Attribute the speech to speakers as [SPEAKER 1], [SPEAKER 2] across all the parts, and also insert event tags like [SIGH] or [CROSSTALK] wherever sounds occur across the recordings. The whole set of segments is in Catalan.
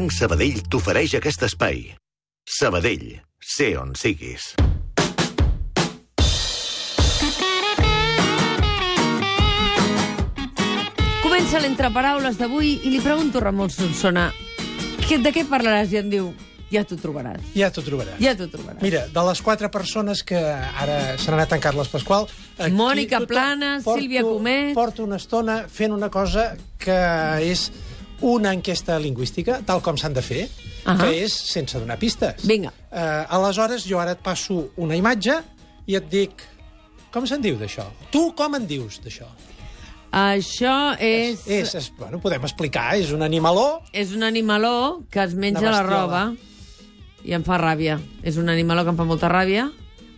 [SPEAKER 1] Banc Sabadell t'ofereix aquest espai. Sabadell, sé on siguis.
[SPEAKER 2] Comença l'entreparaules d'avui i li pregunto a Ramon Solsona que, de què parlaràs i em diu ja t'ho trobaràs,
[SPEAKER 3] Ja t'ho trobaràs.
[SPEAKER 2] ja t'ho trobaràs.
[SPEAKER 3] Mira, de les quatre persones que ara se n'ha anat en Carles Pasqual... aquí
[SPEAKER 2] Mònica
[SPEAKER 3] tothom-
[SPEAKER 2] Planes, Sílvia Comet.
[SPEAKER 3] Porto una estona fent una cosa que és una enquesta lingüística, tal com s'han de fer,
[SPEAKER 2] Ahà.
[SPEAKER 3] que és sense donar pistes.
[SPEAKER 2] Vinga.
[SPEAKER 3] Eh, aleshores, jo ara et passo una imatge i et dic... Com se'n diu, d'això? Tu com en dius, d'això?
[SPEAKER 2] Això és,
[SPEAKER 3] És, és, bueno, podem explicar, és un animaló...
[SPEAKER 2] és un animaló que es menja
[SPEAKER 3] Una
[SPEAKER 2] la
[SPEAKER 3] bestiola.
[SPEAKER 2] roba i em fa ràbia. És un animaló que em fa molta ràbia.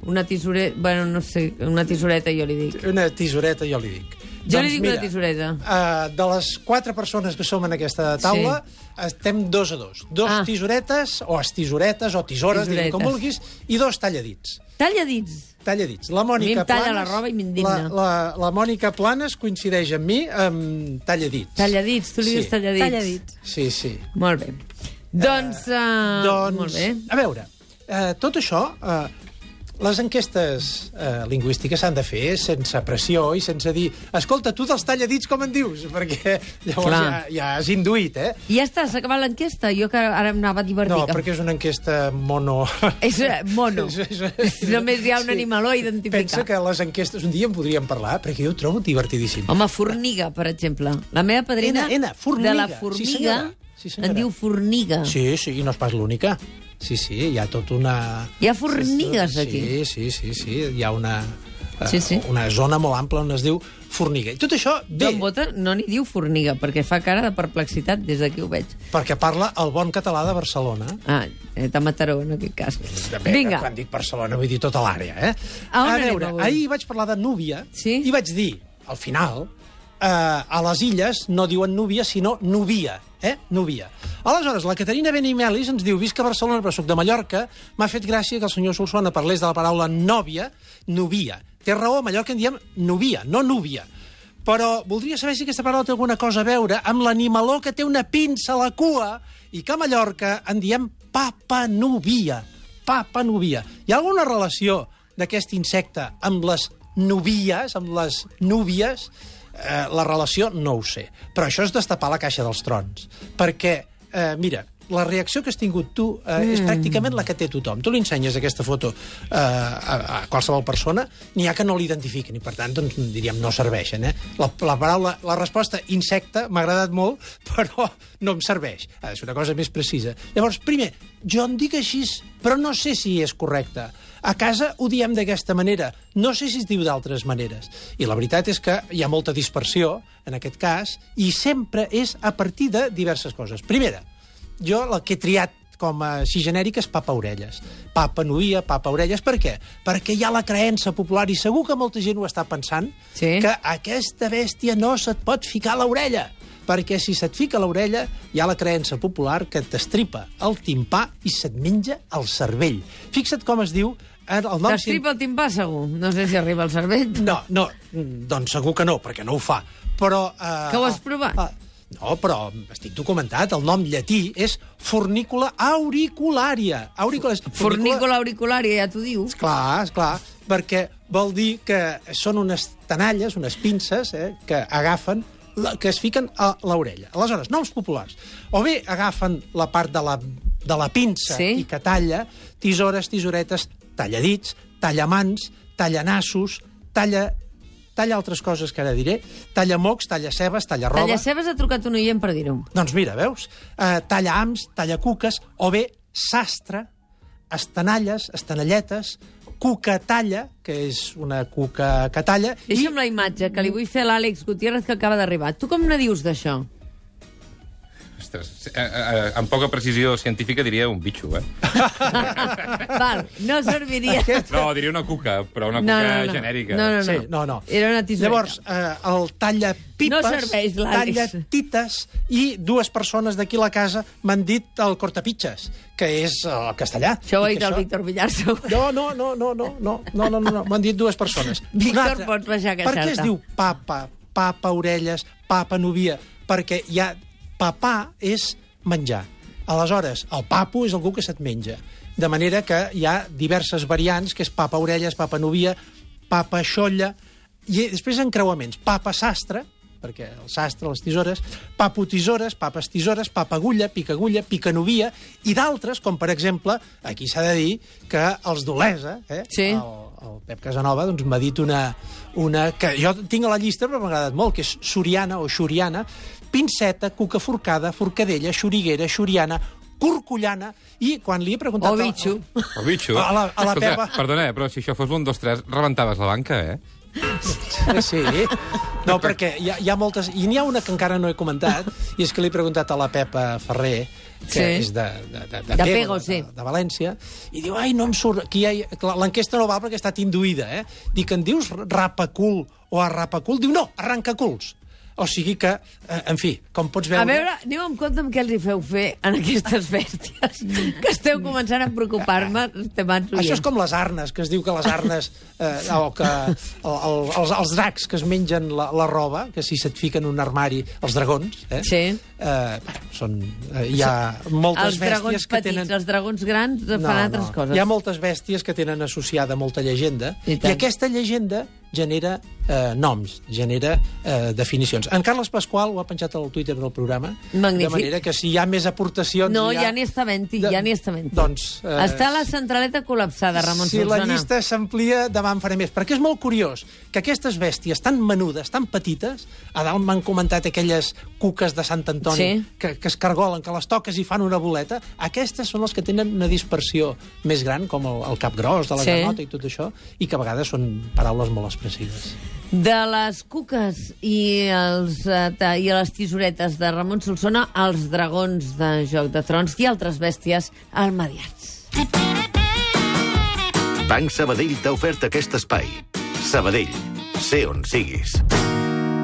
[SPEAKER 2] Una tisoreta, bueno, no sé, una tisoreta jo li dic.
[SPEAKER 3] Una tisoreta, jo li dic. Doncs
[SPEAKER 2] Jo li dic una tisoreta.
[SPEAKER 3] Uh, de les quatre persones que som en aquesta taula, sí. estem dos a dos. Dos
[SPEAKER 2] Ah.
[SPEAKER 3] ah. tisoretes, o estisoretes, o
[SPEAKER 2] Tisoretes.
[SPEAKER 3] tisores, diguem com vulguis, i dos talladits.
[SPEAKER 2] Talladits.
[SPEAKER 3] Talladits. La
[SPEAKER 2] mi em
[SPEAKER 3] Mònica
[SPEAKER 2] talla
[SPEAKER 3] Planes,
[SPEAKER 2] la roba i m'indigna.
[SPEAKER 3] La, la, la Mònica Planes coincideix amb mi amb talladits.
[SPEAKER 2] Talladits, tu li
[SPEAKER 3] Sí.
[SPEAKER 2] dius talladits.
[SPEAKER 4] Talladits.
[SPEAKER 3] Sí, sí.
[SPEAKER 2] Molt bé. Doncs, uh,
[SPEAKER 3] doncs,
[SPEAKER 2] molt bé.
[SPEAKER 3] a veure, eh, tot això... Eh, les enquestes eh, lingüístiques s'han de fer sense pressió i sense dir escolta, tu dels talladits com en dius? Perquè llavors ja,
[SPEAKER 2] Clar.
[SPEAKER 3] ja has induït, eh?
[SPEAKER 2] I ja està, s'ha acabat l'enquesta. Jo que ara em anava a divertir.
[SPEAKER 3] No,
[SPEAKER 2] que em
[SPEAKER 3] perquè és una enquesta mono...
[SPEAKER 2] És eh,
[SPEAKER 3] [LAUGHS]
[SPEAKER 2] mono. [LAUGHS] Només hi ha un animaló a identificar.
[SPEAKER 3] Pensa que les enquestes un dia en podríem parlar, perquè jo ho trobo divertidíssim.
[SPEAKER 2] Home, forniga, per exemple. La meva padrina
[SPEAKER 3] Ena, ena, forniga.
[SPEAKER 2] de la
[SPEAKER 3] Sí,
[SPEAKER 2] formiga
[SPEAKER 3] senyora. Sí, senyora.
[SPEAKER 2] en diu forniga.
[SPEAKER 3] Sí, sí, i no és pas l'única. Sí, sí, hi ha tot una...
[SPEAKER 2] Hi ha formigues, aquí.
[SPEAKER 3] Sí, sí, sí, sí, hi ha una... eh,
[SPEAKER 2] Sí, sí.
[SPEAKER 3] Una zona molt ampla on es diu forniga. I tot això ve
[SPEAKER 2] Joan Bota no n'hi diu forniga, perquè fa cara de perplexitat des d'aquí ho veig.
[SPEAKER 3] perquè parla el bon català de Barcelona.
[SPEAKER 2] Ah, eh, de Mataró, en aquest cas.
[SPEAKER 3] També,
[SPEAKER 2] Vinga,
[SPEAKER 3] Quan dic Barcelona, vull dir tota l'àrea, eh?
[SPEAKER 2] A on
[SPEAKER 3] a
[SPEAKER 2] anem
[SPEAKER 3] veure,
[SPEAKER 2] avui?
[SPEAKER 3] ahir vaig parlar de Núbia
[SPEAKER 2] Sí?
[SPEAKER 3] i vaig dir, al final, eh, a les illes no diuen Núbia, sinó Núbia, eh? Núbia. Aleshores, la Caterina Benimelis ens diu, visc a Barcelona, però soc de Mallorca, m'ha fet gràcia que el senyor Solsona parlés de la paraula nòvia, Núbia. Té raó, a Mallorca en diem Núbia, no Núbia. Però voldria saber si aquesta paraula té alguna cosa a veure amb l'animaló que té una pinça a la cua i que a Mallorca en diem papanúvia. Papa Nubia. Hi ha alguna relació d'aquest insecte amb les nubies, amb les núvies? Eh, la relació no ho sé. Però això és destapar la caixa dels trons. Perquè, eh, mira, la reacció que has tingut tu eh, és pràcticament la que té tothom. Tu li ensenyes aquesta foto eh, a, a qualsevol persona, n'hi ha que no l'identifiquen i, per tant, doncs, diríem, no serveixen. Eh? La, la paraula, la resposta insecte m'ha agradat molt, [LAUGHS] però no em serveix. Ha de ser una cosa més precisa. Llavors, primer, jo en dic així, però no sé si és correcte. A casa ho diem d'aquesta manera, no sé si es diu d'altres maneres. I la veritat és que hi ha molta dispersió, en aquest cas, i sempre és a partir de diverses coses. Primera, jo la que he triat com a així genèric és papa orelles. Papa noia, papa orelles, per què? Perquè hi ha la creença popular, i segur que molta gent ho està pensant,
[SPEAKER 2] Sí.
[SPEAKER 3] que aquesta bèstia no se't pot ficar a l'orella, perquè si se't fica a l'orella hi ha la creença popular que t'estripa el timpà i se't menja el cervell. Fixa't com es diu... eh, El nom cien-
[SPEAKER 2] t'estripa el timpà, segur. No sé si arriba al cervell.
[SPEAKER 3] no, no, mm, doncs segur que no, perquè no ho fa. Però... Eh,
[SPEAKER 2] Que ho has provat?
[SPEAKER 3] eh, no, però estic documentat, el nom llatí és fornícula auriculària. Auricular és
[SPEAKER 2] Fornícula auriculària, ja t'ho diu.
[SPEAKER 3] Esclar, esclar, perquè vol dir que són unes tanalles, unes pinces, eh, que agafen la, que es fiquen a l'orella. Aleshores, noms populars. O bé agafen la part de la, de la pinça
[SPEAKER 2] Sí.
[SPEAKER 3] i que talla, tisores, tisoretes, talladits, tallamans, tallanassos, talla talla altres coses que ara diré, talla mocs, talla cebes, talla roba...
[SPEAKER 2] Tallacebes ha trucat un oient per dir-ho.
[SPEAKER 3] Doncs mira, veus? Uh, talla ams, talla cuques, o bé sastre, estanalles, estanalletes, cuca talla, que és una cuca que talla, i
[SPEAKER 2] Deixa'm la imatge, que li vull fer a l'Àlex Gutiérrez, que acaba d'arribar. Tu com ne dius d'això?
[SPEAKER 5] Ostres, eh, eh, amb poca precisió científica diria un bitxo, eh?
[SPEAKER 2] Val, no serviria...
[SPEAKER 5] No, diria una cuca, però una
[SPEAKER 2] No,
[SPEAKER 5] cuca
[SPEAKER 2] no, no.
[SPEAKER 5] genèrica.
[SPEAKER 2] No, no, no.
[SPEAKER 3] Sí, no, no.
[SPEAKER 2] Era una tisoreta.
[SPEAKER 3] Llavors, eh, el talla pipes,
[SPEAKER 2] No serveix, l'Àlex.
[SPEAKER 3] talla tites, i dues persones d'aquí a la casa m'han dit el cortapitxes, que és el castellà.
[SPEAKER 2] Això ho ha
[SPEAKER 3] I
[SPEAKER 2] dit
[SPEAKER 3] que
[SPEAKER 2] el Víctor
[SPEAKER 3] [LAUGHS]
[SPEAKER 2] Villar, segur.
[SPEAKER 3] No, no, no, no, no, no, no, no, no, no. m'han dit dues persones.
[SPEAKER 2] [LAUGHS] Víctor,
[SPEAKER 3] Una altra.
[SPEAKER 2] pots baixar a
[SPEAKER 3] Per què es
[SPEAKER 2] queixar-te.
[SPEAKER 3] diu papa, papa orelles, papa novia? Perquè hi ha... Papà és menjar. Aleshores, el papo és algú que se't menja. De manera que hi ha diverses variants, que és papa orelles, papa novia, papa xolla, i després encreuaments. Papa sastre, perquè el sastre, les tisores, papo tisores, papes tisores, papa agulla, pica agulla, pica novia, i d'altres, com per exemple, aquí s'ha de dir que els d'Olesa, eh?
[SPEAKER 2] Sí.
[SPEAKER 3] el, el Pep Casanova doncs, m'ha dit una, una que jo tinc a la llista però m'ha agradat molt, que és soriana o xoriana, pinceta, cuca forcada, forcadella, xoriguera, xoriana, corcollana, i quan li he preguntat...
[SPEAKER 2] O
[SPEAKER 3] al-
[SPEAKER 2] bitxo.
[SPEAKER 5] El bitxo.
[SPEAKER 3] A la- a la
[SPEAKER 5] Escolta,
[SPEAKER 3] Pepa.
[SPEAKER 5] Perdona, eh, però si això fos l'1, 2, 3, rebentaves la banca, eh?
[SPEAKER 3] Sí. No, perquè hi ha, hi ha moltes... I n'hi ha una que encara no he comentat, i és que li he preguntat a la Pepa Ferrer, que
[SPEAKER 2] Sí.
[SPEAKER 3] és de, de, de,
[SPEAKER 2] De
[SPEAKER 3] Pego,
[SPEAKER 2] Pego, sí.
[SPEAKER 3] de, de València, i diu, ai, no em surt... Aquí hi ha... clar, L'enquesta no val perquè ha estat induïda, eh? Dic, en dius rapacul o arrapacul? Diu, no, arrancaculs. O sigui que, eh, en fi, com pots veure...
[SPEAKER 2] A veure, aneu amb compte amb què els hi feu fer en aquestes bèsties, que esteu començant a preocupar-me, estimats
[SPEAKER 3] Això és
[SPEAKER 2] oients.
[SPEAKER 3] com les arnes, que es diu que les arnes... Eh, o que el, el, els, els dracs que es mengen la, la roba, que si se't fiquen un armari, els dragons, eh?
[SPEAKER 2] Sí.
[SPEAKER 3] Eh, bueno, són, eh, hi ha moltes
[SPEAKER 2] Els dragons
[SPEAKER 3] bèsties que
[SPEAKER 2] petits,
[SPEAKER 3] tenen...
[SPEAKER 2] els dragons grans fan altres coses.
[SPEAKER 3] Hi ha moltes bèsties que tenen associada molta llegenda,
[SPEAKER 2] I tant.
[SPEAKER 3] aquesta llegenda genera eh, noms, genera eh, definicions. En Carles Pasqual ho ha penjat al Twitter del programa,
[SPEAKER 2] Magnífic.
[SPEAKER 3] de manera que si hi ha més aportacions...
[SPEAKER 2] No,
[SPEAKER 3] hi ha-
[SPEAKER 2] ja n'hi està venti,
[SPEAKER 3] De-
[SPEAKER 2] ja n'hi està venti.
[SPEAKER 3] Doncs...
[SPEAKER 2] Eh... Està la centraleta col·lapsada, Ramon
[SPEAKER 3] si la
[SPEAKER 2] Solsona.
[SPEAKER 3] llista s'amplia, demà en faré més. Perquè és molt curiós que aquestes bèsties tan menudes, tan petites, a dalt m'han comentat aquelles cuques de Sant Antoni
[SPEAKER 2] Sí.
[SPEAKER 3] que, que es cargolen, que les toques i fan una boleta, aquestes són les que tenen una dispersió més gran, com el, el cap gros, de la
[SPEAKER 2] Sí.
[SPEAKER 3] sí. granota i tot això, i que a vegades són paraules molt expressives.
[SPEAKER 2] De les cuques i, els, eh, ta- i les tisoretes de Ramon Solsona, els dragons de Joc de Trons i altres bèsties almadiats.
[SPEAKER 1] Banc Sabadell t'ha ofert aquest espai. Sabadell, sé on siguis.